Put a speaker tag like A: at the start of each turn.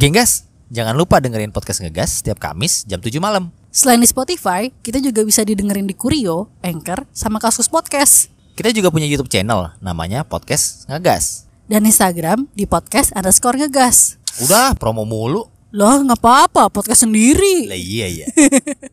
A: Genggas, jangan lupa dengerin podcast Ngegas setiap Kamis jam 7 malam.
B: Selain di Spotify, kita juga bisa didengerin di Kurio, Anchor, sama Kasus Podcast.
A: Kita juga punya YouTube channel namanya Podcast Ngegas.
B: Dan Instagram di podcast underscore ngegas.
A: Udah promo mulu.
B: Loh, nggak apa-apa, podcast sendiri.
A: Lah iya iya.